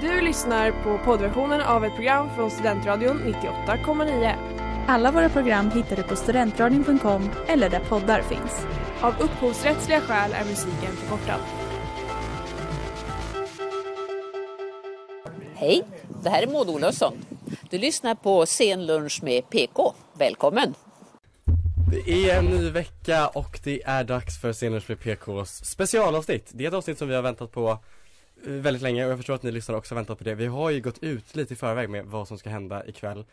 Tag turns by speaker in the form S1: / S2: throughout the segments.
S1: Du lyssnar på poddversionen av ett program från Studentradion 98,9.
S2: Alla våra program hittar du på studentradion.com eller där poddar finns.
S1: Av upphovsrättsliga skäl är musiken förkortad.
S3: Oh
S4: Hej, det här är Maud Olofsson. Du lyssnar på Sen lunch med PK. Välkommen!
S5: Det är en ny vecka och det är dags för Sceners med PKs specialavsnitt. Det är ett avsnitt som vi har väntat på eh, väldigt länge och jag förstår att ni lyssnare också har väntat på det. Vi har ju gått ut lite i förväg med vad som ska hända ikväll.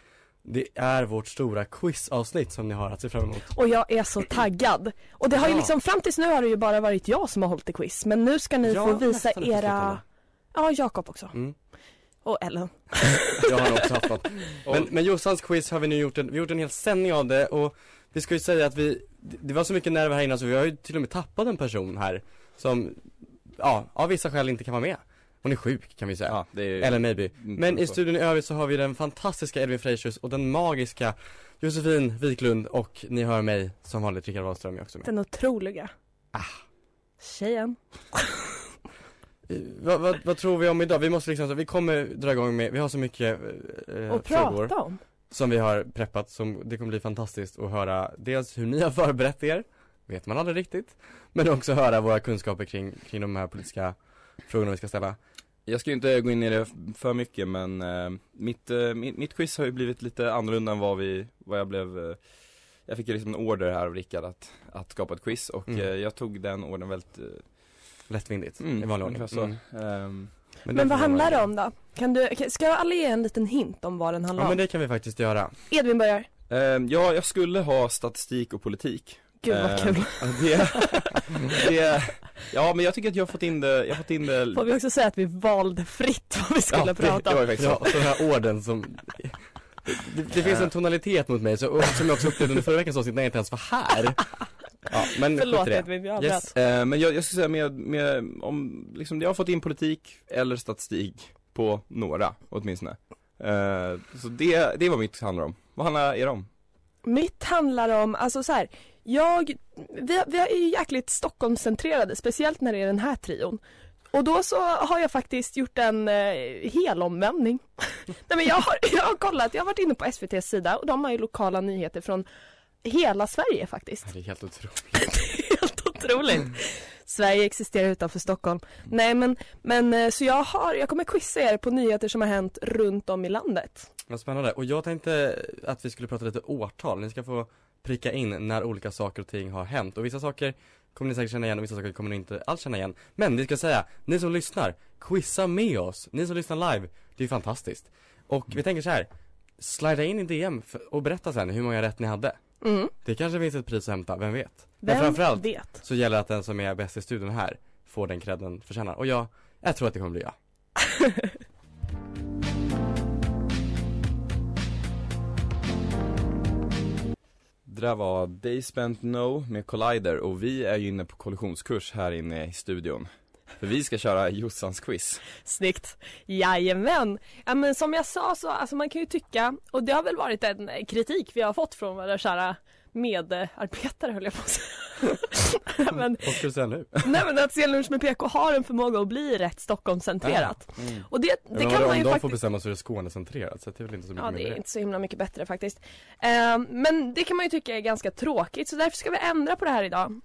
S5: Det är vårt stora quizavsnitt som ni har att se fram emot.
S3: Och jag är så taggad. Och det har ju
S5: Ja.
S3: liksom, fram tills nu har det ju bara varit jag som har hållit i quiz. Men nu ska ni
S5: Jag
S3: få
S5: har
S3: visa
S5: nästan typ
S3: era...
S5: uteslutit
S3: Ja, Jakob också.
S5: Mm.
S3: Och Ellen.
S5: Jag har också haft något. Men, men Jossans quiz har vi nu gjort en, vi har gjort en hel sändning av det och vi ska ju säga att vi, det det var så mycket nerver här innan så vi har ju till och med tappat en person här som, ja, av vissa skäl inte kan vara med. Hon är sjuk kan vi säga.
S6: Ja, det är
S5: Eller maybe.
S6: Mm,
S5: Men i
S6: så.
S5: studion i övrigt så har vi den fantastiska Edvin Frejsius och den magiska Josefin Wiklund och ni hör mig som vanligt, Rickard Wahlström är också med.
S3: Den otroliga.
S5: Ah.
S3: Tjejen.
S5: Eh, Vad, vad, vad tror vi om idag? Vi måste liksom, så- vi kommer dra igång med, vi har så mycket eh,
S3: och
S5: frågor
S3: prata om.
S5: som vi har preppat som, det kommer bli fantastiskt att höra dels hur ni har förberett er, vet man aldrig riktigt, men också höra våra kunskaper kring, kring de här politiska frågorna vi ska ställa.
S6: Jag ska ju inte gå in i det f- för mycket men eh, mitt, eh, mitt, mitt quiz har ju blivit lite annorlunda än vad vi, vad jag blev eh, Jag fick ju liksom en order här av Rickard att, att skapa ett quiz och
S5: Mm.
S6: eh, jag tog den ordern väldigt eh,
S5: Lättvindigt, i
S6: mm,
S5: vanlig ordning.
S6: ungefär så.
S5: Mm.
S6: Ehm,
S3: Men vad handlar det
S5: om?
S3: om då? Kan du, kan- ska alla ge en liten hint om vad den handlar
S5: Ja men
S3: om?
S5: det kan vi faktiskt göra.
S3: Edvin börjar.
S6: ehm, ja, jag skulle ha statistik och politik
S3: Gud
S5: Eh,
S3: vad
S6: Ehm,
S3: kul.
S6: det, det, Ja men jag tycker att jag har fått in det, jag har fått in det
S3: Får vi också säga att vi valde fritt vad vi skulle
S6: ja,
S3: prata
S6: det, det
S3: om?
S6: var ju faktiskt
S5: Ja,
S6: så.
S5: och så den här orden som det, det finns en tonalitet mot mig så, och som jag också upplevde under förra veckans avsnitt när jag inte ens var här. Ja, men
S3: Förlåt
S5: skit i det.
S3: Edvin, jag avbröt.
S5: Yes.
S6: Eh, men jag, jag skulle säga med, med om, liksom, jag har fått in politik eller statistik på några åtminstone. Eh, så det, det var mitt handlar om. Vad handlar er om?
S3: Mitt handlar om, alltså så här, jag, vi, vi är ju jäkligt Stockholmscentrerade, speciellt när det är den här trion. Och då så har jag faktiskt gjort en eh, helomvändning. Nej men jag har, jag har kollat, jag har varit inne på SVTs sida och de har ju lokala nyheter från hela Sverige faktiskt.
S5: Det är helt otroligt.
S3: Helt otroligt. Sverige existerar utanför Stockholm. Nej men, men eh, så jag har, jag kommer quizza er på nyheter som har hänt runt om i landet.
S5: Vad spännande. Och jag tänkte att vi skulle prata lite årtal. Ni ska få pricka in när olika saker och ting har hänt. Och vissa saker kommer ni säkert känna igen och vissa saker kommer ni inte alls känna igen. Men vi ska säga, ni som lyssnar, quizza med oss. Ni som lyssnar live, det är ju fantastiskt. Och
S3: Mm.
S5: vi tänker så här, slida in i DM för, och berätta sen hur många rätt ni hade.
S3: Mm.
S5: Det kanske finns ett pris att hämta, vem vet? Men
S3: Vem
S5: framförallt
S3: vet?
S5: så gäller det att den som är bäst i studion här får den cred den förtjänar. Och jag, jag tror att det kommer bli jag.
S6: Det där var They Spent No med Collider och vi är ju inne på kollisionskurs här inne i studion. För vi ska köra Jossans quiz.
S3: Snyggt! Jajamän! Ja, men som jag sa så, alltså man kan ju tycka, och det har väl varit en eh, kritik vi har fått från våra kära medarbetare höll jag på att säga. men,
S5: Vad ska du säga nu?
S3: nej men att se lunch med PK har en förmåga att bli rätt Stockholmscentrerat. Och det, det
S5: Men
S3: kan
S5: om
S3: man ju
S5: de får
S3: faktiskt
S5: bestämma så är det Skånecentrerat, så det är väl inte så mycket
S3: Ja
S5: med
S3: det är inte så himla mycket bättre faktiskt. Eh, men det kan man ju tycka är ganska tråkigt så därför ska vi ändra på det här idag.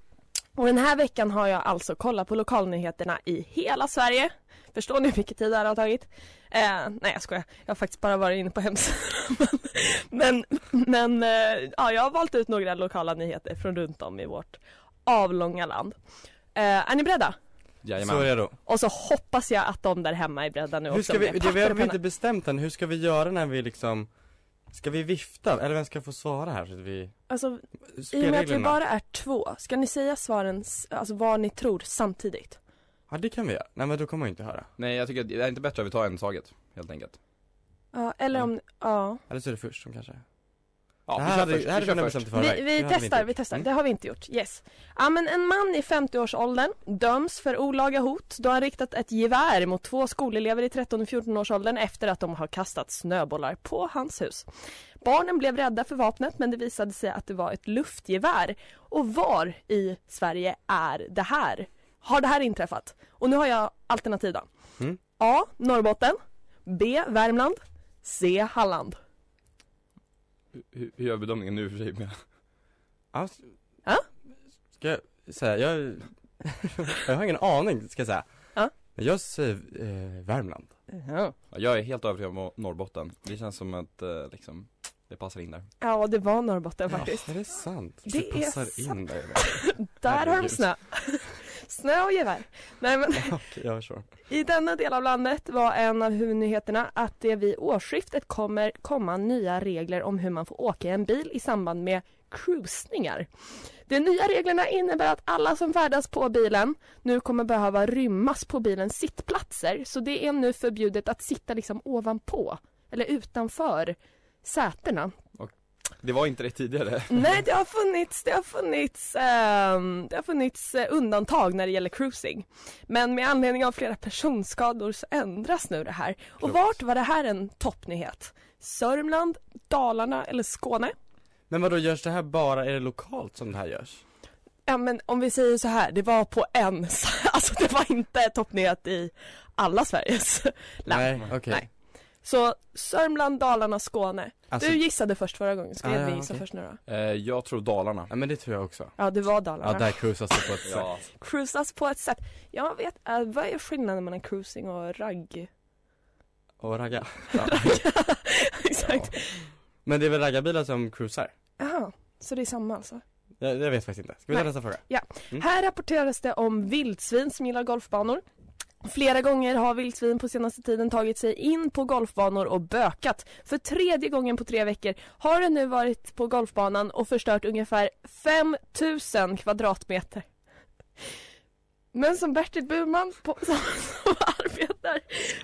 S3: Och den här veckan har jag alltså kollat på lokalnyheterna i hela Sverige. Förstår ni hur mycket tid det här har tagit? Eh, nej jag skojar, jag har faktiskt bara varit inne på hemsidan. men men eh, ja, jag har valt ut några lokala nyheter från runt om i vårt avlånga land. Eh, är ni beredda?
S5: Så är
S6: Jajamän.
S5: det då.
S3: Och så hoppas jag att de där hemma är beredda nu
S5: Hur
S3: också.
S5: ska vi,
S3: med
S5: det, vi
S3: papper och
S5: har vi
S3: penna.
S5: inte bestämt än, hur ska vi göra när vi liksom Ska vi vifta, eller vem ska få svara här? Så att vi...
S3: Alltså I och med att vi
S5: Spelreglerna?
S3: bara är två, ska ni säga svaren, s- alltså vad ni tror samtidigt?
S5: Ja det kan vi göra, nej men då kommer man ju inte höra
S6: Nej jag tycker att det är inte bättre att vi tar en i taget, helt enkelt.
S3: Ja, eller om, ja.
S5: Eller så är det först som kanske
S6: Ja,
S5: Det
S6: vi
S5: här
S6: kör
S5: hade,
S6: först.
S5: det här
S6: Vi kör
S5: hade vi
S3: Vi,
S5: bestämt i förväg Det
S6: först.
S3: vi
S5: hade inte
S3: testar,
S5: gjort.
S3: vi testar.
S5: Mm.
S3: Det har vi inte gjort. Yes. Ja men en man i 50-årsåldern döms för olaga hot då han riktat ett gevär mot två skolelever i 13 och 14-årsåldern efter att de har kastat snöbollar på hans hus. Barnen blev rädda för vapnet men det visade sig att det var ett luftgevär. Och var i Sverige är det här? Har det här inträffat? Och nu har jag alternativ då.
S5: Mm.
S3: A. Norrbotten. B. Värmland C. Halland
S6: Hur, hur gör bedömningen nu för sig? Men-
S5: Ja, s-
S3: Ja?
S5: Ska jag säga, jag, jag har ingen aning ska jag säga
S3: Ja.
S5: Men jag säger eh, Värmland
S6: Ja, Jag är helt övertygad om Norrbotten. Det känns som att eh, liksom, det passar in där.
S3: Ja, det var Norrbotten
S5: Ja,
S3: faktiskt.
S5: Ah, är det sant?
S3: Det är
S5: passar
S3: sant.
S5: in där
S3: Där har de
S5: herregud.
S3: snö. snö och gevär. Nej, men
S5: Okej, jag förstår
S3: I denna del av landet var en av huvudnyheterna att det vid årsskiftet kommer komma nya regler om hur man får åka i en bil i samband med cruisningar. De nya reglerna innebär att alla som färdas på bilen nu kommer behöva rymmas på bilens sittplatser så det är nu förbjudet att sitta liksom ovanpå eller utanför sätena.
S6: Det var inte det tidigare.
S3: Nej, det har funnits, det har funnits, ehm, det har funnits eh, undantag när det gäller cruising. Men med anledning av flera personskador så ändras nu det här. Och
S6: Klokt.
S3: vart var det här en toppnyhet? Sörmland, Dalarna eller Skåne?
S5: Men vadå, görs det här bara, är det lokalt som det här görs?
S3: Ja men om vi säger så här, det var på en, alltså det var inte toppnyhet i alla Sveriges land.
S5: Nej, okej
S3: Nej. Så Sörmland, Dalarna, Skåne.
S5: Alltså,
S3: Du gissade först förra gången, ska
S5: Ah,
S3: Edvin
S5: ja,
S3: gissa
S5: okej.
S3: först nu då?
S6: Eh, jag tror Dalarna.
S5: ja men det tror jag också
S3: Ja det var
S5: Ja,
S3: Dalarna.
S5: där cruisas det på ett sätt
S6: Ja.
S3: cruisas på ett sätt. Jag vet, eh, vad är skillnaden mellan cruising och ragg?
S5: Och ragga
S3: Exakt.
S5: Men det är väl raggarbilar som cruisar?
S3: Jaha, så det är samma alltså.
S5: Jag, jag vet faktiskt inte, ska vi ta
S3: Nej.
S5: nästa fråga? Mm.
S3: Här rapporteras det om vildsvin som gillar golfbanor. Flera gånger har vildsvin på senaste tiden tagit sig in på golfbanor och bökat. För tredje gången på tre veckor har det nu varit på golfbanan och förstört ungefär 5000 kvadratmeter. Men som Bertil Burman på, som, som arbetar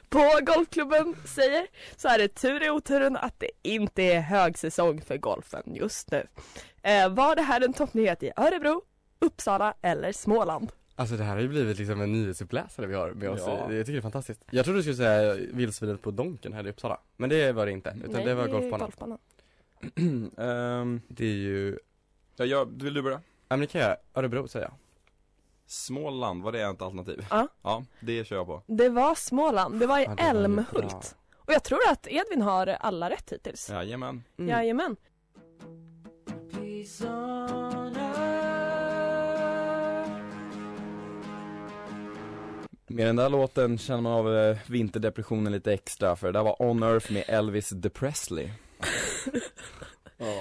S3: på golfklubben säger så är det tur i oturen att det inte är högsäsong för golfen just nu. Eh, var det här en toppnyhet i Örebro, Uppsala eller Småland?
S5: Alltså det här har ju blivit liksom en nyhetsuppläsare vi har med oss,
S6: Ja.
S5: jag tycker det är fantastiskt Jag trodde du skulle säga vildsvinet på Donken här i Uppsala Men det var det inte, utan det var golfbanan
S3: golfbanan.
S6: Ehm,
S5: Det är ju,
S6: ja, jag, vill du börja?
S5: ja men det kan jag göra. Örebro säger jag
S6: Småland, var det ett alternativ?
S3: Ja.
S6: Ja, det kör jag på.
S3: Det var Småland, det var i
S5: Ja, det var ju bra.
S3: Älmhult. Och jag tror att Edvin har alla rätt hittills.
S6: Jajamän.
S5: Mm.
S3: Jajamän.
S6: Med den där låten känner man av eh, vinterdepressionen lite extra för det där var On Earth med Elvis The Presley.
S5: Ja,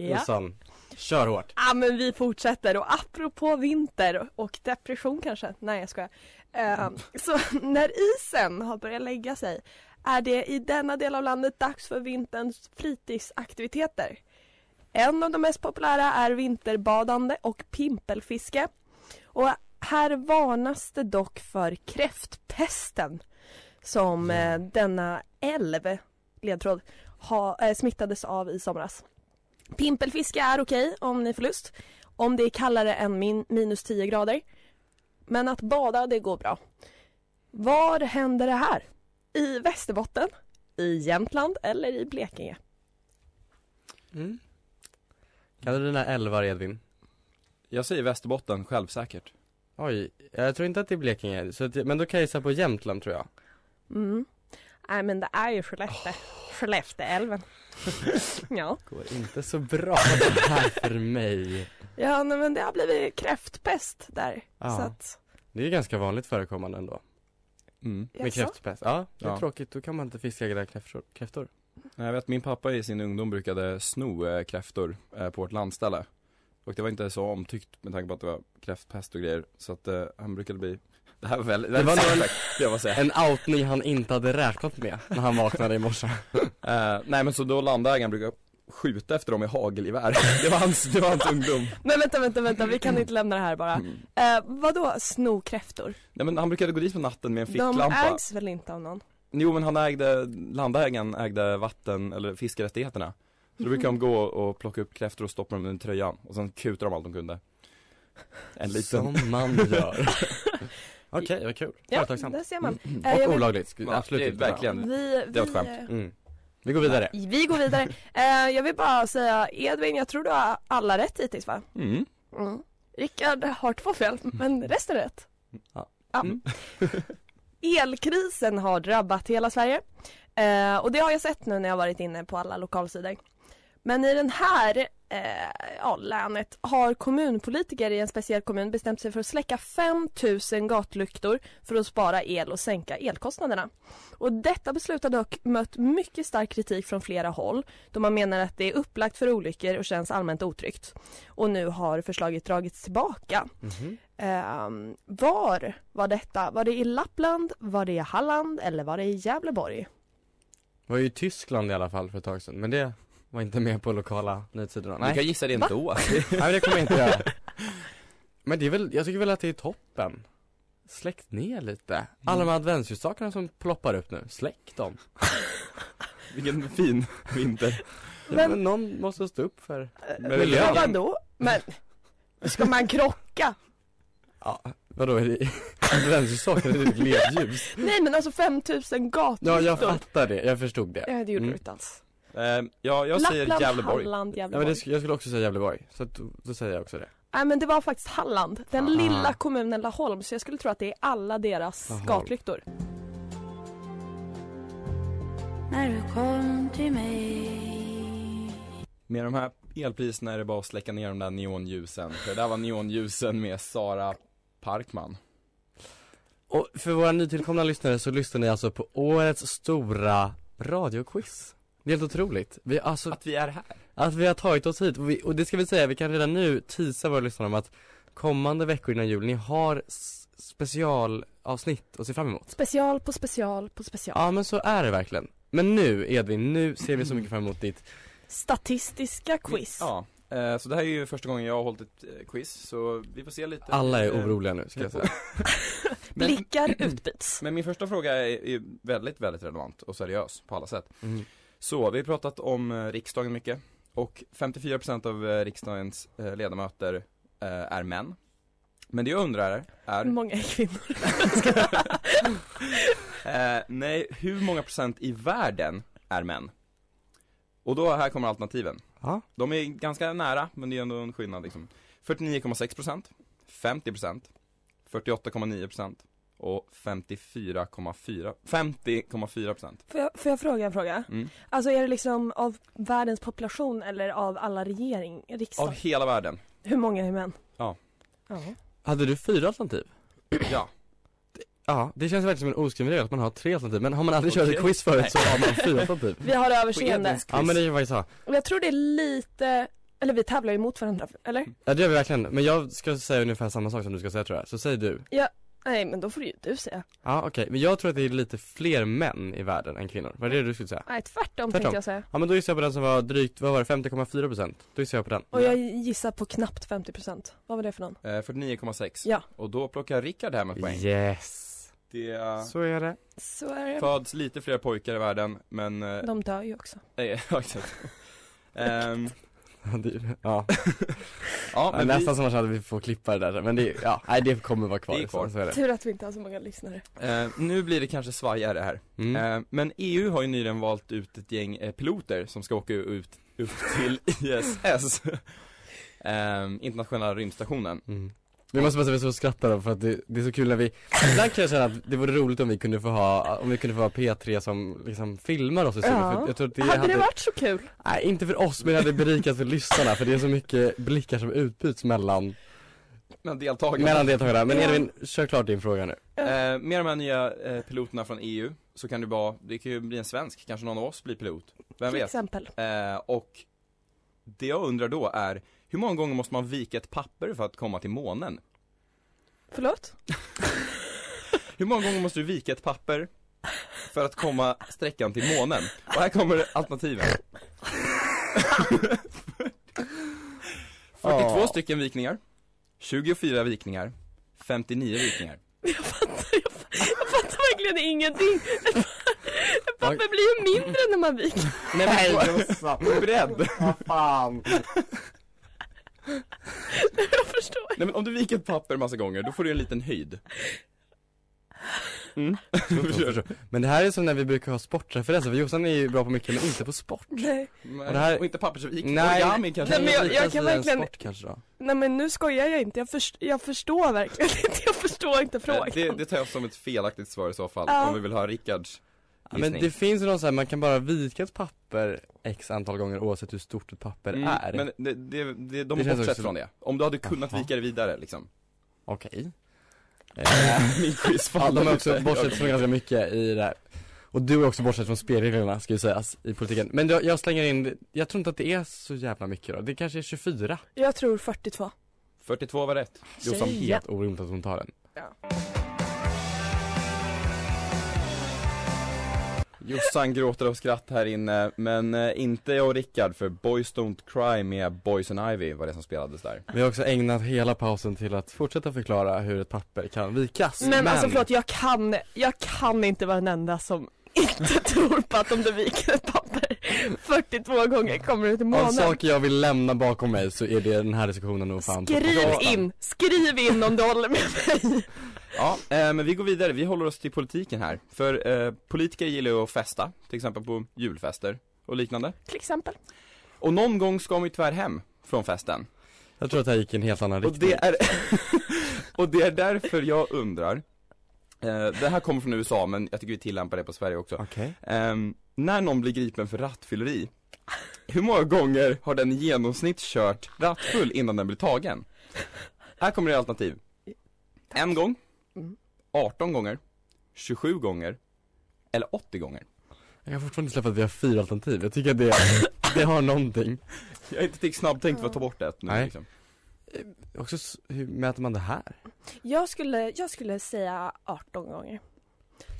S3: Ja.
S5: Jossan, kör hårt
S3: Ja men vi fortsätter och apropå vinter och depression kanske, nej jag skojar. Eh, så när isen har börjat lägga sig är det i denna del av landet dags för vinterns fritidsaktiviteter. En av de mest populära är vinterbadande och pimpelfiske. Och här varnas det dock för kräftpesten som eh, denna älv, ledtråd, ha, eh, smittades av i somras. Pimpelfiske är okej om ni får lust. Om det är kallare än min, minus 10 grader. Men att bada, det går bra. Var händer det här? I Västerbotten, i Jämtland eller i Blekinge?
S5: mm. Kan du dina älvar Edvin?
S6: Jag säger Västerbotten, självsäkert.
S5: Oj, jag tror inte att det är Blekinge, så att, jag- men då kan jag gissa på Jämtland tror jag
S3: Mm. Nej men det är ju Skellefteå.
S5: Oh.
S3: Skellefteälven. ja.
S5: Går inte så bra det här för mig
S3: ja, nej, men det har blivit kräftpest där.
S5: Ja.
S3: Så att,
S5: Det är ju ganska vanligt förekommande ändå,
S6: Mm.
S5: med
S3: jaså?
S5: kräftpest Ja, det är
S6: Ja.
S5: tråkigt, då kan man inte fiska där kräftor, kräftor.
S6: Jag vet min pappa i sin ungdom brukade sno eh, kräftor eh, på vårt landställe. Och det var inte så omtyckt med tanke på att det var kräftpest och grejer. Så att eh, han brukade bli det här var väldigt,
S5: Det var nog en-
S6: det jag var säga.
S5: En outning han inte hade räknat med när han vaknade i morse
S6: Eh, nej men så då landägaren brukade skjuta efter dem med hagelgevär. Det var hans, det var hans ungdom.
S3: Nej vänta, vänta, vänta. Vi kan inte lämna det här bara.
S6: Mm.
S3: Eh, vadå sno kräftor?
S6: Nej men han brukade gå dit på natten med en
S3: De
S6: ficklampa.
S3: ägs väl inte av någon?
S6: Jo men han ägde, landägaren ägde vatten eller fiskerättigheterna. Så då brukade de gå och plocka upp kräftor och stoppa dem under tröjan och sen kutade de allt de kunde. En liten
S5: Som man gör Okej, vad kul,
S3: Ja,
S5: företagsamt Mm.
S3: där ser man. Eh, jag
S5: Och
S3: vill-
S5: olagligt, skulle-
S6: Ja,
S5: absolut
S6: det är
S5: inte bra.
S6: verkligen.
S3: Vi,
S6: Det var ett
S3: vi,
S6: skämt.
S3: eh,
S5: mm. Vi går vidare
S3: Vi går vidare. Eh, jag vill bara säga Edvin, jag tror du har alla rätt hittills va?
S6: Mm.
S3: Rickard har två fel, men resten är rätt.
S5: Ja.
S3: Ja.
S5: Mm.
S3: Elkrisen har drabbat hela Sverige eh, och det har jag sett nu när jag varit inne på alla lokalsidor. Men i den här eh, ja, länet har kommunpolitiker i en speciell kommun bestämt sig för att släcka 5000 gatlyktor för att spara el och sänka elkostnaderna. Och detta beslut har dock mött mycket stark kritik från flera håll då man menar att det är upplagt för olyckor och känns allmänt otryggt. Och nu har förslaget dragits tillbaka.
S5: Mhm.
S3: Ehm, var var detta? Var det i Lappland? Var det i Halland? Eller var det i Gävleborg?
S5: Det var ju i Tyskland i alla fall för ett tag sedan, men det var inte med på lokala nyhetssidorna.
S6: Du
S5: Nej,
S6: kan gissa det ändå.
S5: Nej men det kommer jag inte göra. Men det är väl, jag tycker väl att det är toppen. Släck ner lite. Alla de här adventsljusstakarna som ploppar upp nu, släck dem.
S6: Vilken fin vinter.
S5: Men, ja, men någon måste stå upp för
S6: Men
S5: miljön.
S3: Men vadå? Men ska man krocka?
S5: Ja, vadå är det adventsljusstakarna? Det är ett ledljus.
S3: Nej men alltså 5000 gator.
S5: Ja, jag fattar det. Jag förstod det.
S3: Ja, det gjorde
S5: Mm.
S3: du inte alls.
S6: Eh, ja, jag säger
S3: Lappland,
S6: Gävleborg.
S3: Halland,
S5: Ja,
S3: Gävleborg.
S5: men det, sk- jag skulle också säga Gävleborg, så att, då- då säger jag också det.
S3: Nej men det var faktiskt Halland. Den
S5: Aha.
S3: lilla kommunen Laholm. Så jag skulle tro att det är alla deras
S5: Laholm.
S3: gatlyktor.
S7: När du kom till mig
S6: Med de här elpriserna är det bara att släcka ner de där neonljusen. För det där var neonljusen med Sara Parkman.
S5: Och för våra nytillkomna lyssnare så lyssnar ni alltså på årets stora radioquiz. Det är helt otroligt. Vi, alltså,
S6: Att vi är här.
S5: Att vi har tagit oss hit, och, vi, och det ska vi säga, vi kan redan nu tisa våra lyssnare om att kommande veckor innan jul, ni har s- specialavsnitt att se fram emot.
S3: Special på special på special.
S5: Ja men så är det verkligen. Men nu Edvin, nu ser vi så mycket fram emot ditt,
S3: Statistiska quiz.
S6: Ja. eh, Så det här är ju första gången jag har hållit ett eh, quiz, så vi får se lite
S5: alla är
S6: eh,
S5: oroliga nu ska jag säga.
S6: Men-
S3: Blickar utbyts.
S6: Men min första fråga är, är väldigt, väldigt relevant och seriös på alla sätt.
S5: Mm.
S6: Så, vi har pratat om eh, riksdagen mycket och 54% av eh, riksdagens eh, ledamöter eh, är män. Men det jag undrar är,
S3: Hur många är kvinnor?
S6: eh, nej, hur många procent i världen är män? Och då, här kommer alternativen.
S5: Ja.
S6: De är ganska nära, men det är ändå en skillnad liksom. 49,6%, 50%, 48,9% och 54,4 50,4%
S3: Får jag, får jag fråga en fråga?
S6: Mm.
S3: Alltså är det liksom av världens population eller av alla regering, riksdag?
S6: av hela världen.
S3: Hur många är män?
S6: Ja.
S3: Ja.
S5: Hade du fyra alternativ?
S6: Ja.
S5: Ja, det känns verkligen som en oskriven regel att man har tre alternativ, men har man aldrig kört
S6: Okej.
S5: ett quiz förut så har man fyra alternativ.
S3: Vi har överseende.
S5: Ja men det är faktiskt så.
S3: Och jag tror det är lite, eller vi tävlar ju mot varandra, eller?
S5: Ja det gör vi verkligen, men jag ska säga ungefär samma sak som du ska säga tror jag, så säg du.
S3: Nej men då får ju du säga.
S5: Ja okej, men jag tror att det är lite fler män i världen än kvinnor, var det det du skulle säga?
S3: Nej tvärtom,
S5: Tvärtom.
S3: tänkte jag säga.
S5: Ja men då gissar jag på den som var drygt, vad var det, 50,4 procent? Då gissar jag på den
S3: Och jag gissar på knappt 50%. Vad var det för någon?
S6: Eh, 49,6
S3: Ja.
S6: Och då plockar Rickard hem ett poäng
S5: Yes!
S6: Det eh,
S5: Så är det
S3: Så är det.
S6: föds lite fler pojkar i världen men, eh,
S3: De dör ju också.
S6: nej, ja, exakt Ehm,
S5: Ja,
S6: Ja
S5: ja
S6: men vi,
S5: nästan som man kände att vi får klippa det där men det, ja, nej det kommer vara kvar
S6: Det är kvar.
S5: Så, så är det
S3: Tur att vi inte har så många lyssnare.
S6: eh, nu blir det kanske svajigare här
S5: mm.
S6: eh, Men EU har ju nyligen valt ut ett gäng eh, piloter som ska åka ut, upp till ISS eh, Internationella rymdstationen
S5: Mm. Vi måste bara säga att vi så skrattar då för att det, det är så kul när vi, ibland kan jag känna att det vore roligt om vi kunde få ha, om vi kunde få ha P3 som liksom filmar oss i studion
S3: Ja.
S5: för jag tror att det
S3: hade, det varit så kul?
S5: Nej inte för oss men det hade berikat för lyssnarna för det är så mycket blickar som utbyts mellan,
S6: Men deltagarna
S5: mellan deltagarna Men
S3: Ja.
S5: Edvin, kör klart din fråga nu
S6: eh, Med de här nya eh, piloterna från EU så kan det vara, det kan ju bli en svensk, kanske någon av oss blir pilot Vem
S3: Till
S6: vet?
S3: exempel.
S6: Eh, och det jag undrar då är, hur många gånger måste man vika ett papper för att komma till månen?
S3: Förlåt?
S6: Hur många gånger måste du vika ett papper för att komma sträckan till månen? Och här kommer alternativen. 42
S5: Ja.
S6: stycken vikningar, 24 vikningar, 59 vikningar.
S3: Jag fattar, jag fattar, jag fattar verkligen ingenting. Ett pa- ett papper
S5: Oj.
S3: blir ju mindre när man viker.
S5: Nej Jossan,
S6: Beredd!
S5: vad fan
S3: Jag förstår.
S6: Nej men om du viker ett papper massa gånger, då får du en liten höjd.
S5: Kör så. Men det här är som när vi brukar ha sportreferenser, för Jossan är ju bra på mycket men inte på sport.
S3: Nej.
S6: Nej.
S5: Och det här-
S6: Och inte pappersvik,
S5: Nej.
S6: origami kanske
S3: Nej, men jag- jag
S5: Alltså,
S3: kan
S5: det är en
S3: verkligen-
S5: Sport kanske då.
S3: Nej men nu skojar jag inte, jag, först, jag förstår verkligen inte, jag förstår inte frågan.
S6: Eh, Det, det tar jag som ett felaktigt svar i så fall,
S3: Ja.
S6: om vi vill ha Rickards
S5: Ja, men
S6: gissning.
S5: det finns ju någon så här, man kan bara vika ett papper x antal gånger oavsett hur stort ett papper
S6: Mm,
S5: är.
S6: Men det, det, det, de
S5: Det
S6: har
S5: känns
S6: bortsett
S5: också-
S6: från det. Om du hade kunnat
S5: Jaha.
S6: vika det vidare liksom.
S5: Okej.
S6: Min quiz
S5: Fan, de har också
S6: lite.
S5: bortsett från ganska mycket i det här. Och du har också bortsett från spelreglerna ska ju sägas i politiken. Men jag, jag slänger in, jag tror inte att det är så jävla mycket då. Det kanske är 24.
S3: Jag tror 42.
S6: 42 var rätt.
S5: Det är som helt orimligt att hon tar den.
S6: Jossan gråter av skratt här inne, men eh, inte jag och Rickard för Boys Don't Cry med Boys and Ivy var det som spelades där.
S5: Vi har också ägnat hela pausen till att fortsätta förklara hur ett papper kan vikas.
S3: Men, alltså förlåt, jag kan, jag kan inte vara den enda som inte tror på att om du viker ett papper 42 gånger kommer du till
S5: av
S3: månen.
S5: saker jag vill lämna bakom mig så är det den här diskussionen nog fan på
S3: Skriv
S5: toppen.
S3: in, skriv in om du håller med mig.
S6: Ja, eh, men vi går vidare, vi håller oss till politiken här. För eh, politiker gillar ju att festa, till exempel på julfester och liknande.
S3: Till exempel.
S6: Och någon gång ska man ju tyvärr hem från festen.
S5: Jag tror att det här gick i en helt annan
S6: Och
S5: riktning.
S6: det är, och det är därför jag undrar, eh, det här kommer från USA men jag tycker vi tillämpar det på Sverige också.
S5: Okej.
S6: Ehm, när någon blir gripen för rattfylleri, hur många gånger har den i genomsnitt kört rattfull innan den blir tagen? Här kommer det alternativ. En gång, 18 gånger, 27 gånger, eller 80 gånger.
S5: Jag har fortfarande inte släppt att vi har fyra alternativ. Jag tycker att det, det har någonting.
S6: Jag är inte tillräckligt snabbtänkt för att ta bort ett nu
S5: Nej.
S6: liksom.
S5: Också, s- hur mäter man det här?
S3: Jag skulle, jag skulle säga 18 gånger.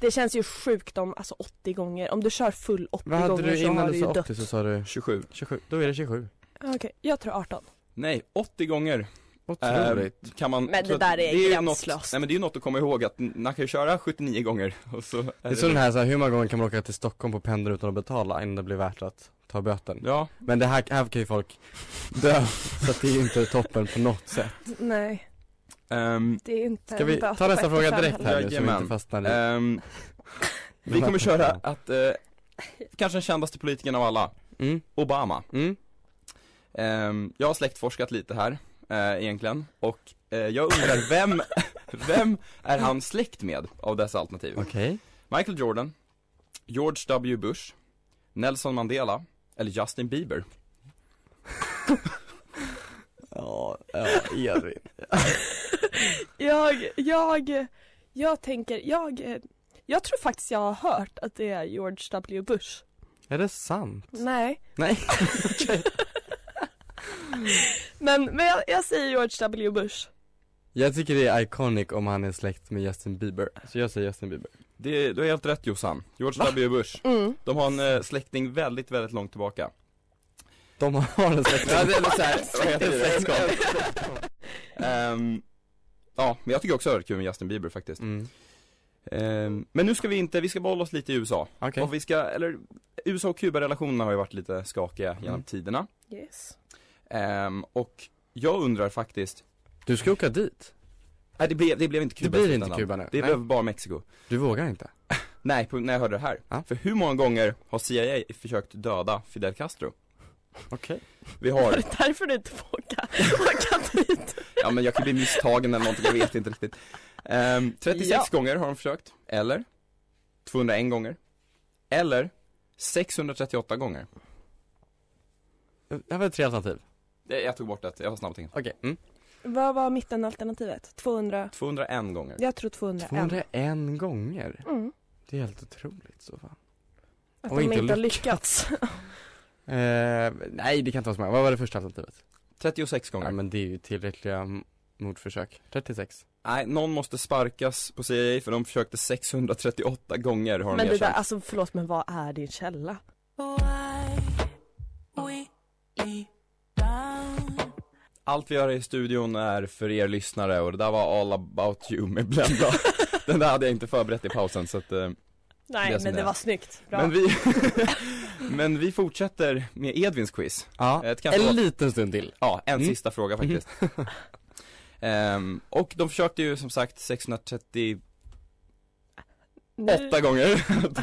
S3: Det känns ju sjukt om, alltså 80 gånger, om du kör full 80
S5: Vad hade
S3: gånger
S5: du
S3: så
S5: innan
S3: har du
S5: du
S3: ju
S5: sa
S3: dött.
S5: 80 så sa du
S6: 27.
S5: 27, då är det 27.
S3: Okej, jag tror 18.
S6: Nej, 80 gånger
S5: Otroligt.
S6: eh, kan man
S3: Men det
S6: så att
S3: där är
S6: något-
S3: gränslöst.
S6: Nej men det är ju något att komma ihåg att n- man kan ju köra 79 gånger och så är
S5: det är så den här, så här, hur många gånger kan man åka till Stockholm på pendeln utan att betala innan det blir värt att ta böten?
S6: Ja,
S5: Men det här, här kan ju folk dö, så att det är inte toppen på något sätt.
S3: Nej,
S6: ehm,
S3: det är inte
S5: Ska vi
S3: en böter
S5: ta
S3: på
S5: nästa
S3: ett
S5: fråga
S3: och fem
S5: direkt här nu så vi
S6: Jajamän.
S5: inte fastnar i
S6: ehm, vi kommer köra att, eh, kanske den kändaste politikern av alla,
S5: Mm,
S6: Obama.
S5: mm.
S6: Ehm, jag har släktforskat lite här, eh, egentligen, och eh, jag undrar vem, vem är han släkt med av dessa alternativ?
S5: Okej.
S6: Michael Jordan, George W Bush, Nelson Mandela, eller Justin Bieber?
S5: Ja, ja, Edvin.
S3: Jag, jag, jag tänker, jag, eh, jag tror faktiskt jag har hört att det är George W Bush.
S5: Är det sant?
S3: Nej.
S5: Nej.
S3: Men, men jag, jag säger George W Bush.
S5: Jag tycker det är iconic om han är släkt med Justin Bieber, så jag säger Justin Bieber.
S6: Det, du har helt rätt Jossan, George W Bush.
S3: Mm.
S6: De har en eh, släkting väldigt, väldigt långt tillbaka.
S5: De har en släkt.
S6: Ja, det är så här, vad heter det?
S5: Släktskap.
S6: Ehm, ja, men jag tycker också det är kul med Justin Bieber faktiskt.
S5: Mm.
S6: Ehm, men nu ska vi inte, vi ska behålla oss lite i USA.
S5: Okej.
S6: Och vi ska, eller USA och Kuba-relationerna har ju varit lite skakiga genom
S5: Mm.
S6: tiderna.
S3: Yes.
S6: Ehm, och jag undrar faktiskt,
S5: Du ska åka dit?
S6: nej det blev, det blev inte Kuba
S5: Det
S6: i
S5: blir inte
S6: slutändan.
S5: Kuba nu?
S6: Det
S5: Nej.
S6: blev bara Mexiko.
S5: Du vågar inte?
S6: Nej, på, när jag hörde det här.
S5: Ja.
S6: För hur många gånger har CIA försökt döda Fidel Castro?
S5: Okej.
S6: Vi har,
S3: Det är därför du inte får åka, åka dit.
S6: ja men jag kan bli misstagen eller någonting, jag vet inte riktigt. Ehm, 36
S3: Ja.
S6: gånger har de försökt, eller 201 gånger, eller 638 gånger.
S5: Det här var tre alternativ.
S6: Eh, Jag tog bort ett, jag var snabb tänkt.
S5: Okej. Mm.
S3: Vad var mittenalternativet? 200?
S6: 201 gånger.
S3: Jag tror 201.
S5: 201 gånger.
S3: Mm.
S5: Det är helt otroligt så fan.
S3: Att
S5: Och
S3: de
S5: inte
S3: inte har lyckats.
S5: Eh, nej det kan inte vara så många. Vad var det första alternativet?
S6: 36 gånger.
S5: Ja men det är ju tillräckliga m- mordförsök. 36.
S6: Nej, någon måste sparkas på CIA för de försökte 638 gånger har
S3: Men
S6: de
S3: det där,
S6: erkänt.
S3: alltså förlåt men vad är din källa?
S7: Why oh, we need down.
S6: Allt vi gör i studion är för er lyssnare och det där var All about you med Blenda. Den där hade jag inte förberett i pausen så att, eh,
S3: Nej
S6: Det är som
S3: men
S6: det
S3: det
S6: är.
S3: var snyggt, bra.
S6: men vi, men vi fortsätter med Edvins quiz. Eh,
S5: Ja.
S6: Ett kanske
S5: En
S6: var-
S5: liten stund till.
S6: Ja, en
S5: Mm.
S6: sista fråga faktiskt. Ehm, och de försökte ju som sagt 630, åtta gånger att,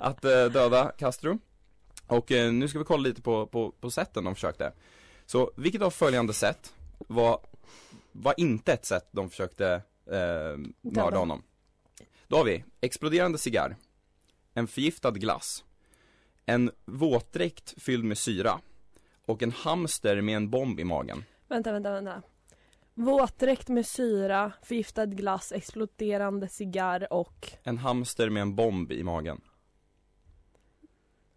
S6: att eh, döda Castro. Och eh, nu ska vi kolla lite på, på, på sätten de försökte. Så vilket av följande sätt var, var inte ett sätt de försökte eh, mörda
S2: Döda.
S6: honom? Då har vi exploderande cigarr, en förgiftad glass, en våtdräkt fylld med syra och en hamster med en bomb i magen.
S3: Vänta, vänta, vänta. Våtdräkt med syra, förgiftad glass, exploderande cigarr och
S6: En hamster med en bomb i magen.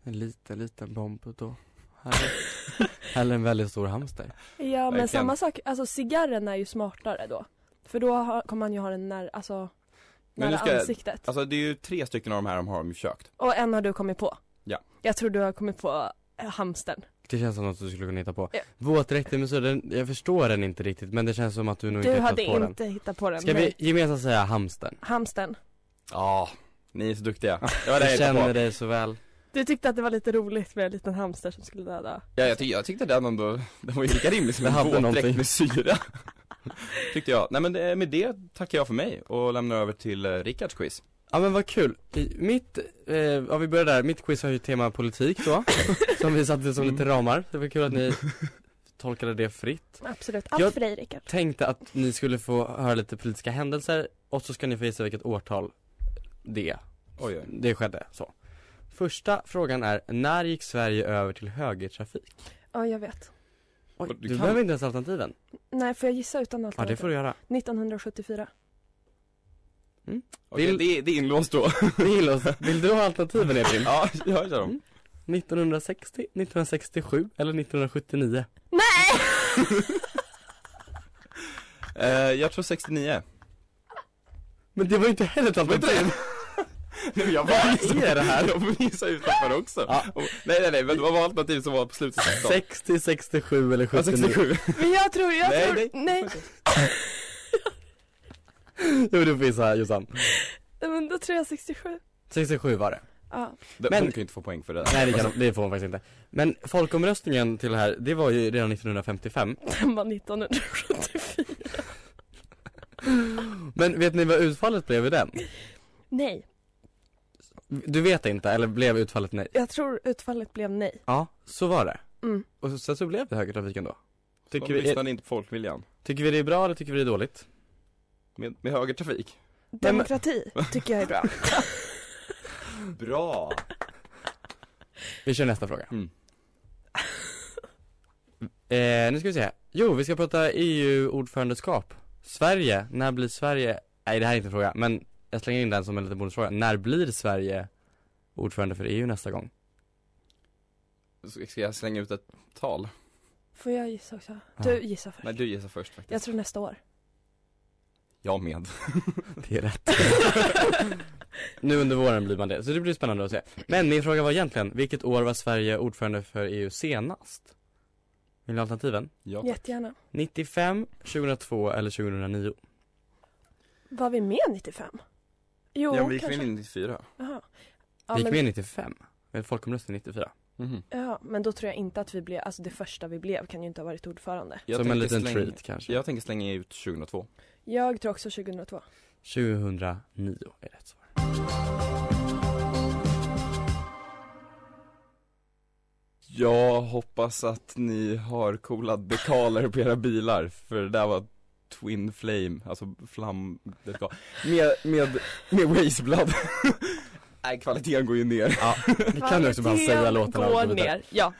S5: En liten, liten bomb då. Här, här är en väldigt stor hamster.
S3: Ja men
S6: Verkligen.
S3: samma sak, alltså cigarren är ju smartare då. För då har, kommer han ju ha den när, alltså,
S6: Men
S3: nära
S6: nu ska jag-
S3: ansiktet.
S6: Alltså det är ju tre stycken av de här de har de ju försökt.
S3: Och en har du kommit på.
S6: Ja.
S3: Jag tror du har kommit på eh, hamstern.
S5: Det känns som något du skulle kunna hitta på.
S3: Ja.
S5: Våtdräkten med syra, den- jag förstår den inte riktigt men det känns som att du nog
S3: Du
S5: inte hittat
S3: hade
S5: på den.
S3: inte hittat på den.
S5: Ska
S3: nej.
S5: vi gemensamt säga hamstern?
S3: Hamstern.
S6: Ja, ni är så duktiga. Det var det
S5: Jag
S6: jag hittade på.
S5: känner dig så väl.
S3: Du tyckte att det var lite roligt med en liten hamster som skulle döda.
S6: Ja, jag, tyck, jag tyckte den ändå, den var ju lika rimlig som
S5: Den
S6: en
S5: hade någonting.
S6: våtdräkt med syra Tyckte jag. Nej men det, med det tackar jag för mig och lämnar över till eh, Rickards quiz
S5: Ja men vad kul. I- Mitt, eh, ja vi börjar där, mitt quiz har ju tema politik då. som vi satte som lite ramar. Det var kul att ni tolkade det fritt.
S3: Absolut.
S5: Allt Jag- för
S3: dig Rickard.
S5: Tänkte att ni skulle få höra lite politiska händelser och så ska ni få gissa vilket årtal det
S6: Oj, oj.
S5: Det skedde så. Första frågan är, när gick Sverige över till högertrafik?
S3: Ja jag vet.
S5: Oj,
S6: Du
S5: du
S6: kan-
S5: behöver inte ens alternativen.
S3: Nej får jag gissa utan allt?
S5: Ja det får du göra.
S3: 1974.
S6: Okej,
S5: Vill-
S6: det, är- det är inlåst då
S5: Vill, oss- vill du ha alternativen Edvin?
S6: Ja, jag kör
S5: Mm.
S6: dem
S5: 1960, 1967 eller 1979?
S6: eh, Jag tror 69
S5: Men det var ju inte heller ett alternativ.
S6: Nej men jag var Vad är det här? Jag får gissa utanför också
S5: Ja.
S6: och, Nej nej nej, men vad var alternativet som var på slutet?
S5: 60, 67 eller
S6: Ja,
S5: 79?
S6: 67
S3: Men jag tror, jag
S6: Nej,
S3: tror,
S6: nej.
S3: nej. nej.
S5: Jo du får gissa Jossan.
S3: Men då tror jag 67.
S5: 67 var det.
S3: Ja.
S6: De-
S5: Men-
S6: Hon kan ju inte få poäng för det där.
S5: Nej det, kan, det får hon faktiskt inte. Men folkomröstningen till det här, det var ju redan 1955.
S3: Den var 1974.
S5: Men vet ni vad utfallet blev i den?
S3: Nej.
S5: Du vet inte, eller blev utfallet nej?
S3: Jag tror utfallet blev nej.
S5: Ja, så var det.
S3: Mm.
S5: Och så- sen så blev det högertrafik ändå. Tycker
S6: De
S5: vi, är,
S6: lyssnade inte på folkviljan
S5: tycker vi det är bra eller tycker vi det är dåligt?
S6: Med, med högertrafik
S5: men-
S3: Demokrati tycker jag är bra.
S6: Bra!
S5: Vi kör nästa fråga.
S6: Mm.
S5: Eh, nu ska vi se. Jo, vi ska prata EU-ordförandeskap. Sverige, när blir Sverige? Nej, det här är inte en fråga, men jag slänger in den som en liten bonusfråga. När blir Sverige ordförande för EU nästa gång?
S6: Så Ska jag slänga ut ett tal?
S3: Får jag gissa också?
S5: Ja.
S3: Du gissar först.
S6: Nej du gissar först faktiskt
S3: Jag tror nästa år.
S6: Jag med
S5: Det är rätt. nu under våren blir man det, så det blir spännande att se. Men min fråga var egentligen, vilket år var Sverige ordförande för EU senast? Vill ni ha alternativen?
S6: Ja
S3: Jättegärna.
S5: 95, 2002 eller 2009?
S3: Var vi med 95? Jo,
S6: ja men vi gick väl
S3: kanske.
S6: in i 94?
S3: Jaha.
S5: Vi
S3: Ja,
S5: gick
S3: men,
S5: med 95, med folkomröstning 94.
S6: Mhm.
S3: ja, men då tror jag inte att vi blev, alltså det första vi blev kan ju inte ha varit ordförande.
S6: Jag
S5: Som en
S6: tänker
S5: liten
S6: slänga-
S5: treat kanske.
S6: Jag tänker slänga ut 2002
S3: Jag tror också 2002.
S5: 2009 är rätt svar.
S6: Jag hoppas att ni har coola dekaler på era bilar för det där var Twin Flame, alltså flam... dekal. Med, med, med Wasteblad Nej kvaliteten går ju ner
S5: Ja, det kan du också bara säga
S3: Kvaliteten
S5: låtarna. och
S3: går
S5: så vidare.
S3: ner, ja.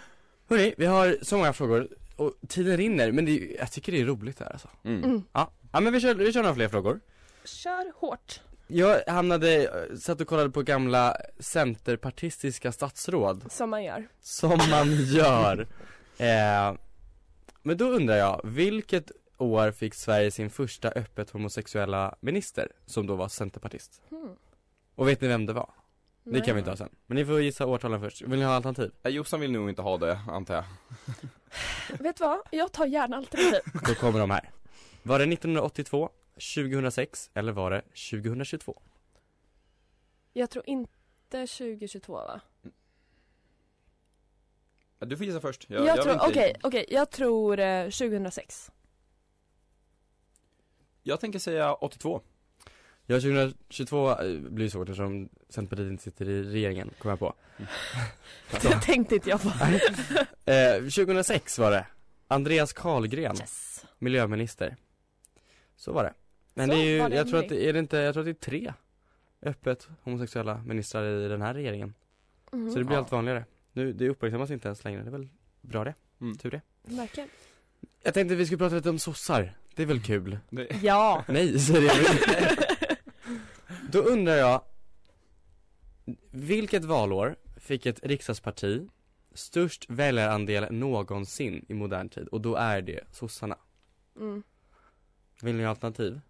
S5: Hörrni, vi har så många frågor och tiden rinner men det, är- jag tycker det är roligt det här alltså.
S3: Mm.
S5: Ja, ja men vi kör, vi kör några fler frågor.
S3: Kör hårt.
S5: Jag hamnade, eh, satt och kollade på gamla centerpartistiska statsråd
S3: Som man gör.
S5: som man gör. Eh, men då undrar jag, vilket år fick Sverige sin första öppet homosexuella minister som då var centerpartist?
S3: Hmm.
S5: Och vet ni vem det var? Det
S3: Nej.
S5: kan vi ta sen. Men ni får gissa årtalen först. Vill ni ha alternativ?
S6: Nej, Jossan vill nog inte ha det antar jag
S3: Vet du vad? Jag tar gärna alternativ.
S5: Då kommer de här. Var det 1982, 2006 eller var det 2022?
S3: Jag tror inte 2022 va?
S6: Ja, Du får gissa först
S3: Jag,
S6: vill
S3: tror,
S6: inte-
S3: okej, okej, jag tror eh, 2006.
S6: Jag tänker säga 82
S5: Ja 2022 blir ju svårt eftersom Centerpartiet inte sitter i regeringen, kom jag på
S3: Det tänkte inte jag på.
S5: eh, 2006 var det Andreas Carlgren, miljöminister Så var det Men
S3: Så
S5: det är ju,
S3: var det
S5: jag tror att,
S3: nu.
S5: det- är det inte, jag tror att det är tre öppet homosexuella ministrar i den här regeringen
S3: Mm.
S5: Så det blir
S6: Ja.
S5: allt vanligare Nu, det uppmärksammas inte ens längre, det är väl bra det,
S6: Mm.
S5: tur det
S3: Verkligen.
S5: Jag tänkte vi skulle prata lite om sossar, det är väl kul?
S6: Det,
S3: Ja.
S5: Nej, säger jag inte. Då undrar jag, vilket valår fick ett riksdagsparti störst väljarandel någonsin i modern tid? Och då är det sossarna.
S3: Mm.
S5: Vill ni ha alternativ?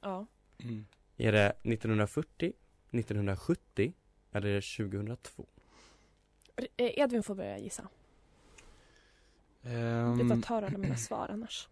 S3: Ja.
S6: mm.
S5: Är det 1940, 1970 eller är det 2002?
S3: R- eh, Edvin får börja gissa. Vi
S6: Ehm,
S3: får ta alla mina svar annars.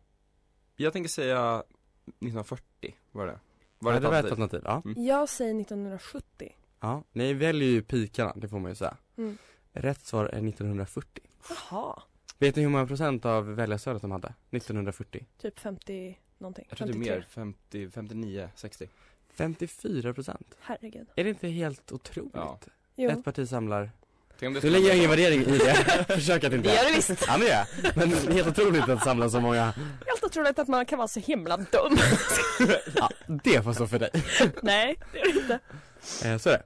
S6: jag tänker säga 1940, var det? Var
S5: Ja,
S6: det
S5: det var ett
S6: ett alternativ?
S5: alternativ? Ja.
S6: Mm.
S3: Jag säger 1970.
S5: ja. Ni väljer ju pikarna, det får man ju säga.
S3: Mm.
S5: Rätt svar är 1940.
S3: Jaha.
S5: Vet ni hur många procent av väljarstödet de hade? 1940?
S3: Typ 50 någonting.
S6: Jag tror det är mer, 50, 59, 60
S5: 54 procent.
S3: Herregud.
S5: Är det inte helt otroligt?
S6: Ja.
S3: Jo.
S5: Ett parti samlar
S6: Tänk om det
S5: Nu
S6: skulle-
S5: lägger jag ingen värdering i det, försök att inte
S3: Det gör det visst.
S5: Ja men det gör jag. Men det är helt otroligt att samla så många
S3: Helt otroligt att man kan vara så himla dum.
S5: Ja, det får stå för dig
S3: Nej, det är det inte.
S5: eh, Så är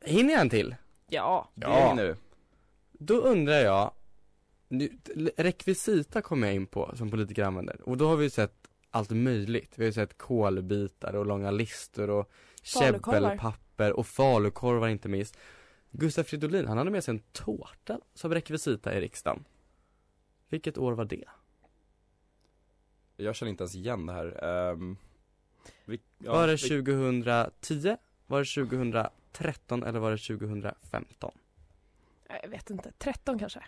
S5: det Hinner jag en till?
S3: Ja.
S6: Ja. nu.
S5: Då undrar jag nu, Rekvisita kommer jag in på som politiker använder och då har vi ju sett allt möjligt Vi har ju sett kolbitar och långa listor och
S3: Falukorvar.
S5: käbbelpapper och falukorvar inte minst Gustaf Fridolin, han hade med sig en tårta som rekvisita i riksdagen Vilket år var det?
S6: Jag känner inte ens igen det här. Ehm, vi, ja,
S5: Var det
S6: vi-
S5: 2010? Var det 2013 eller var det 2015?
S3: Jag vet inte. 13 kanske.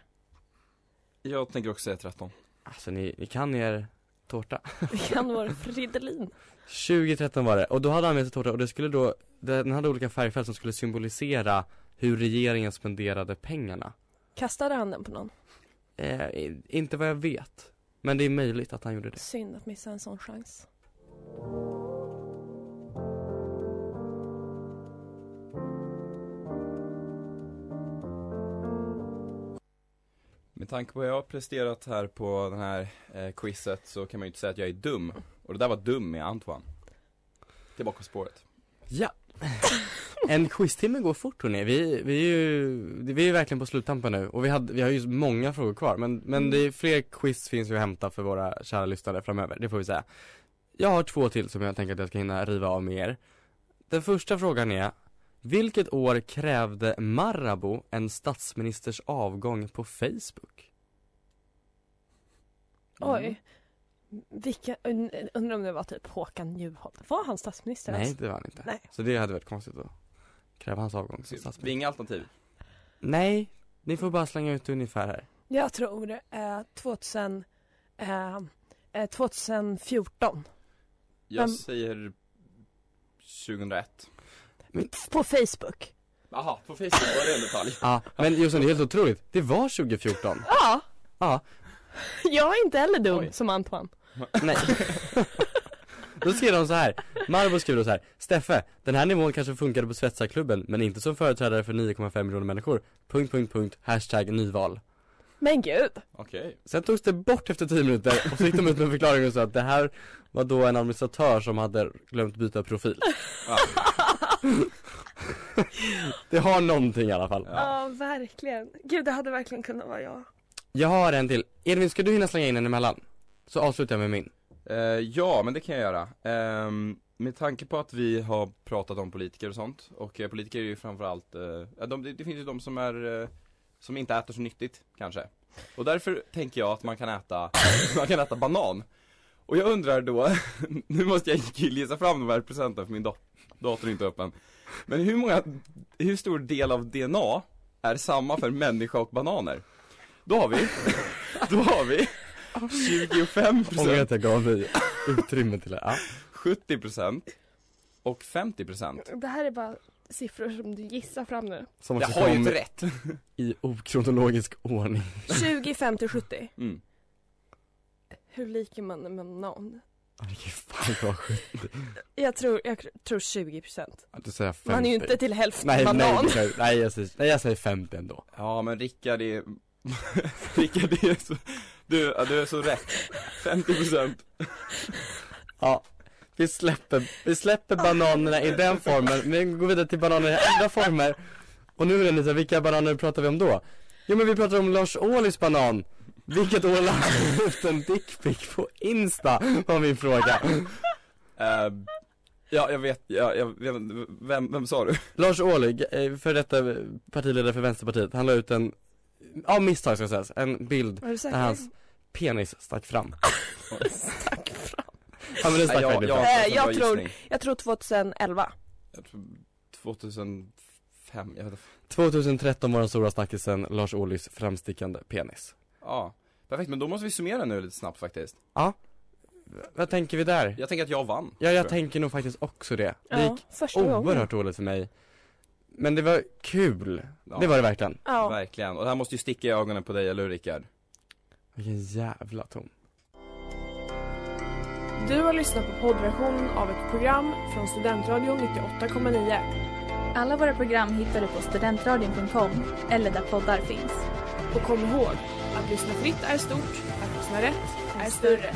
S6: Jag tänker också säga 13.
S5: Alltså ni, ni kan er tårta
S3: Det kan vara Fridelin.
S5: 2013 var det och då hade han med sig tårta och det skulle då Den hade olika färgfält som skulle symbolisera hur regeringen spenderade pengarna
S3: Kastade han den på någon?
S5: eh, i- Inte vad jag vet Men det är möjligt att han gjorde det
S3: Synd att missa en sån chans.
S6: Med tanke på vad jag har presterat här på den här eh, quizet så kan man ju inte säga att jag är dum. Och det där var dum med Antoine. Tillbaka på spåret.
S5: Ja En quiztimme går fort hörni, vi, vi är ju, vi är ju verkligen på sluttampen nu och vi, hade, vi har ju många frågor kvar men, men det är fler quiz finns ju att hämta för våra kära lyssnare framöver, det får vi säga Jag har två till som jag tänker att jag ska hinna riva av med er Den första frågan är Vilket år krävde Marabou en statsministers avgång på Facebook?
S6: Mm.
S5: Mm.
S3: Oj. Vilka, und- undrar om det var typ Håkan Juholt. Var han statsminister
S5: Nej
S3: ens?
S5: det var han inte,
S3: Nej.
S5: så det hade varit konstigt att kräva hans avgång som
S6: Det är
S5: statsminister
S6: inga alternativ.
S5: Nej, ni får bara slänga ut ungefär här
S3: Jag tror eh, 2000, eh, eh, 2014.
S6: Jag
S3: Vem-
S6: säger 2001.
S3: På Facebook.
S6: Jaha, på Facebook var det en detalj.
S5: Ja, men Jossan det är helt otroligt. Det var 2014.
S3: Ja.
S5: Ja.
S3: Jag är inte heller dum
S6: Oj.
S3: som Antoine.
S5: Nej. Då skrev de så här. Marbo skrev då så här. Steffe, den här nivån kanske funkade på svetsarklubben, men inte som företrädare för 9,5 miljoner människor. Punkt, punkt, punkt. Hashtag nyval.
S3: Men gud.
S6: Okej.
S5: Sen togs det bort efter 10 minuter och så gick de ut med en förklaring och sa att det här var då en administratör som hade glömt byta profil.
S6: Ja.
S5: Det har någonting i alla fall.
S6: Ja.
S3: verkligen. Gud, det hade verkligen kunnat vara jag.
S5: Jag har en till. Edvin, ska du hinna slänga in en emellan? Så avslutar jag med min.
S6: Eh, ja, men det kan jag göra. Ehm, med tanke på att vi har pratat om politiker och sånt och eh, politiker är ju framförallt, eh, ja, de, det, det finns ju de som är, eh, som inte äter så nyttigt kanske. Och därför tänker jag att man kan äta, man kan äta banan. Och jag undrar då, nu måste jag gissa fram de här procenten för min do- dator är inte öppen. Men hur många, hur stor del av DNA är samma för människa och bananer? Då har vi, då har vi 25
S5: Om
S6: procent
S5: jag inte gav dig utrymme till det. Ja.
S6: 70% och 50%
S3: Det här är bara siffror som du gissar fram nu.
S5: Som
S6: Jag
S5: också
S6: har ju
S5: kom
S6: inte rätt!
S5: i okronologisk ordning
S3: 20, 50, 70.
S6: Mm.
S3: Hur lik är man med namn?
S5: Ja, det kan ju fan vara sjukt.
S3: Jag tror, jag tror 20 procent.
S5: Ja, Då säger jag 50.
S3: Man är ju inte till hälften
S5: nej,
S3: banan.
S5: nej, nej, nej, jag säger, nej, jag säger 50 ändå.
S6: Ja men Rickard är, Rickard det är så, du, ja, du är så rätt. 50 procent.
S5: Ja. Vi släpper, vi släpper bananerna i den formen, men går vidare till bananer i andra former. Och nu är det vilka bananer pratar vi om då? Jo men vi pratar om Lars Ohlys banan. Vilket år la han ut en dickpic på Insta? Var min fråga.
S6: Eh, ja jag vet, ja, jag, jag, vet- vem, vem sa du?
S5: Lars Ohly, eh, för detta partiledare för Vänsterpartiet, han la ut en, av misstag ska sägas, en bild
S3: Är du
S5: där hans penis stack fram. Ja men den stack
S6: Nej,
S5: verkligen fram.
S3: Eh,
S6: en
S3: jag
S6: bra
S3: tror-
S6: gissning.
S3: Jag tror 2011.
S6: Jag tror 2005, jag vet inte.
S5: 2013 var den stora snackisen Lars Ohlys framstickande penis.
S6: Ja, perfekt men då måste vi summera nu lite snabbt faktiskt.
S5: Vad tänker vi där?
S6: Jag tänker att jag vann.
S5: Ja, jag
S6: tror
S5: tänker nog faktiskt också det. Det
S3: Ja,
S5: gick
S3: första gången.
S5: oerhört dåligt för mig. Men det var kul.
S6: Ja.
S5: Det var det verkligen.
S3: Ja.
S6: Verkligen, och det här måste ju sticka i ögonen på dig, eller hur Rickard?
S5: Vilken jävla tom.
S1: Du har lyssnat på poddversionen av ett program från Studentradion 98,9
S2: Alla våra program hittar du på studentradion.com eller där poddar finns.
S1: och kom ihåg att lyssna fritt är stort, att lyssna rätt är större.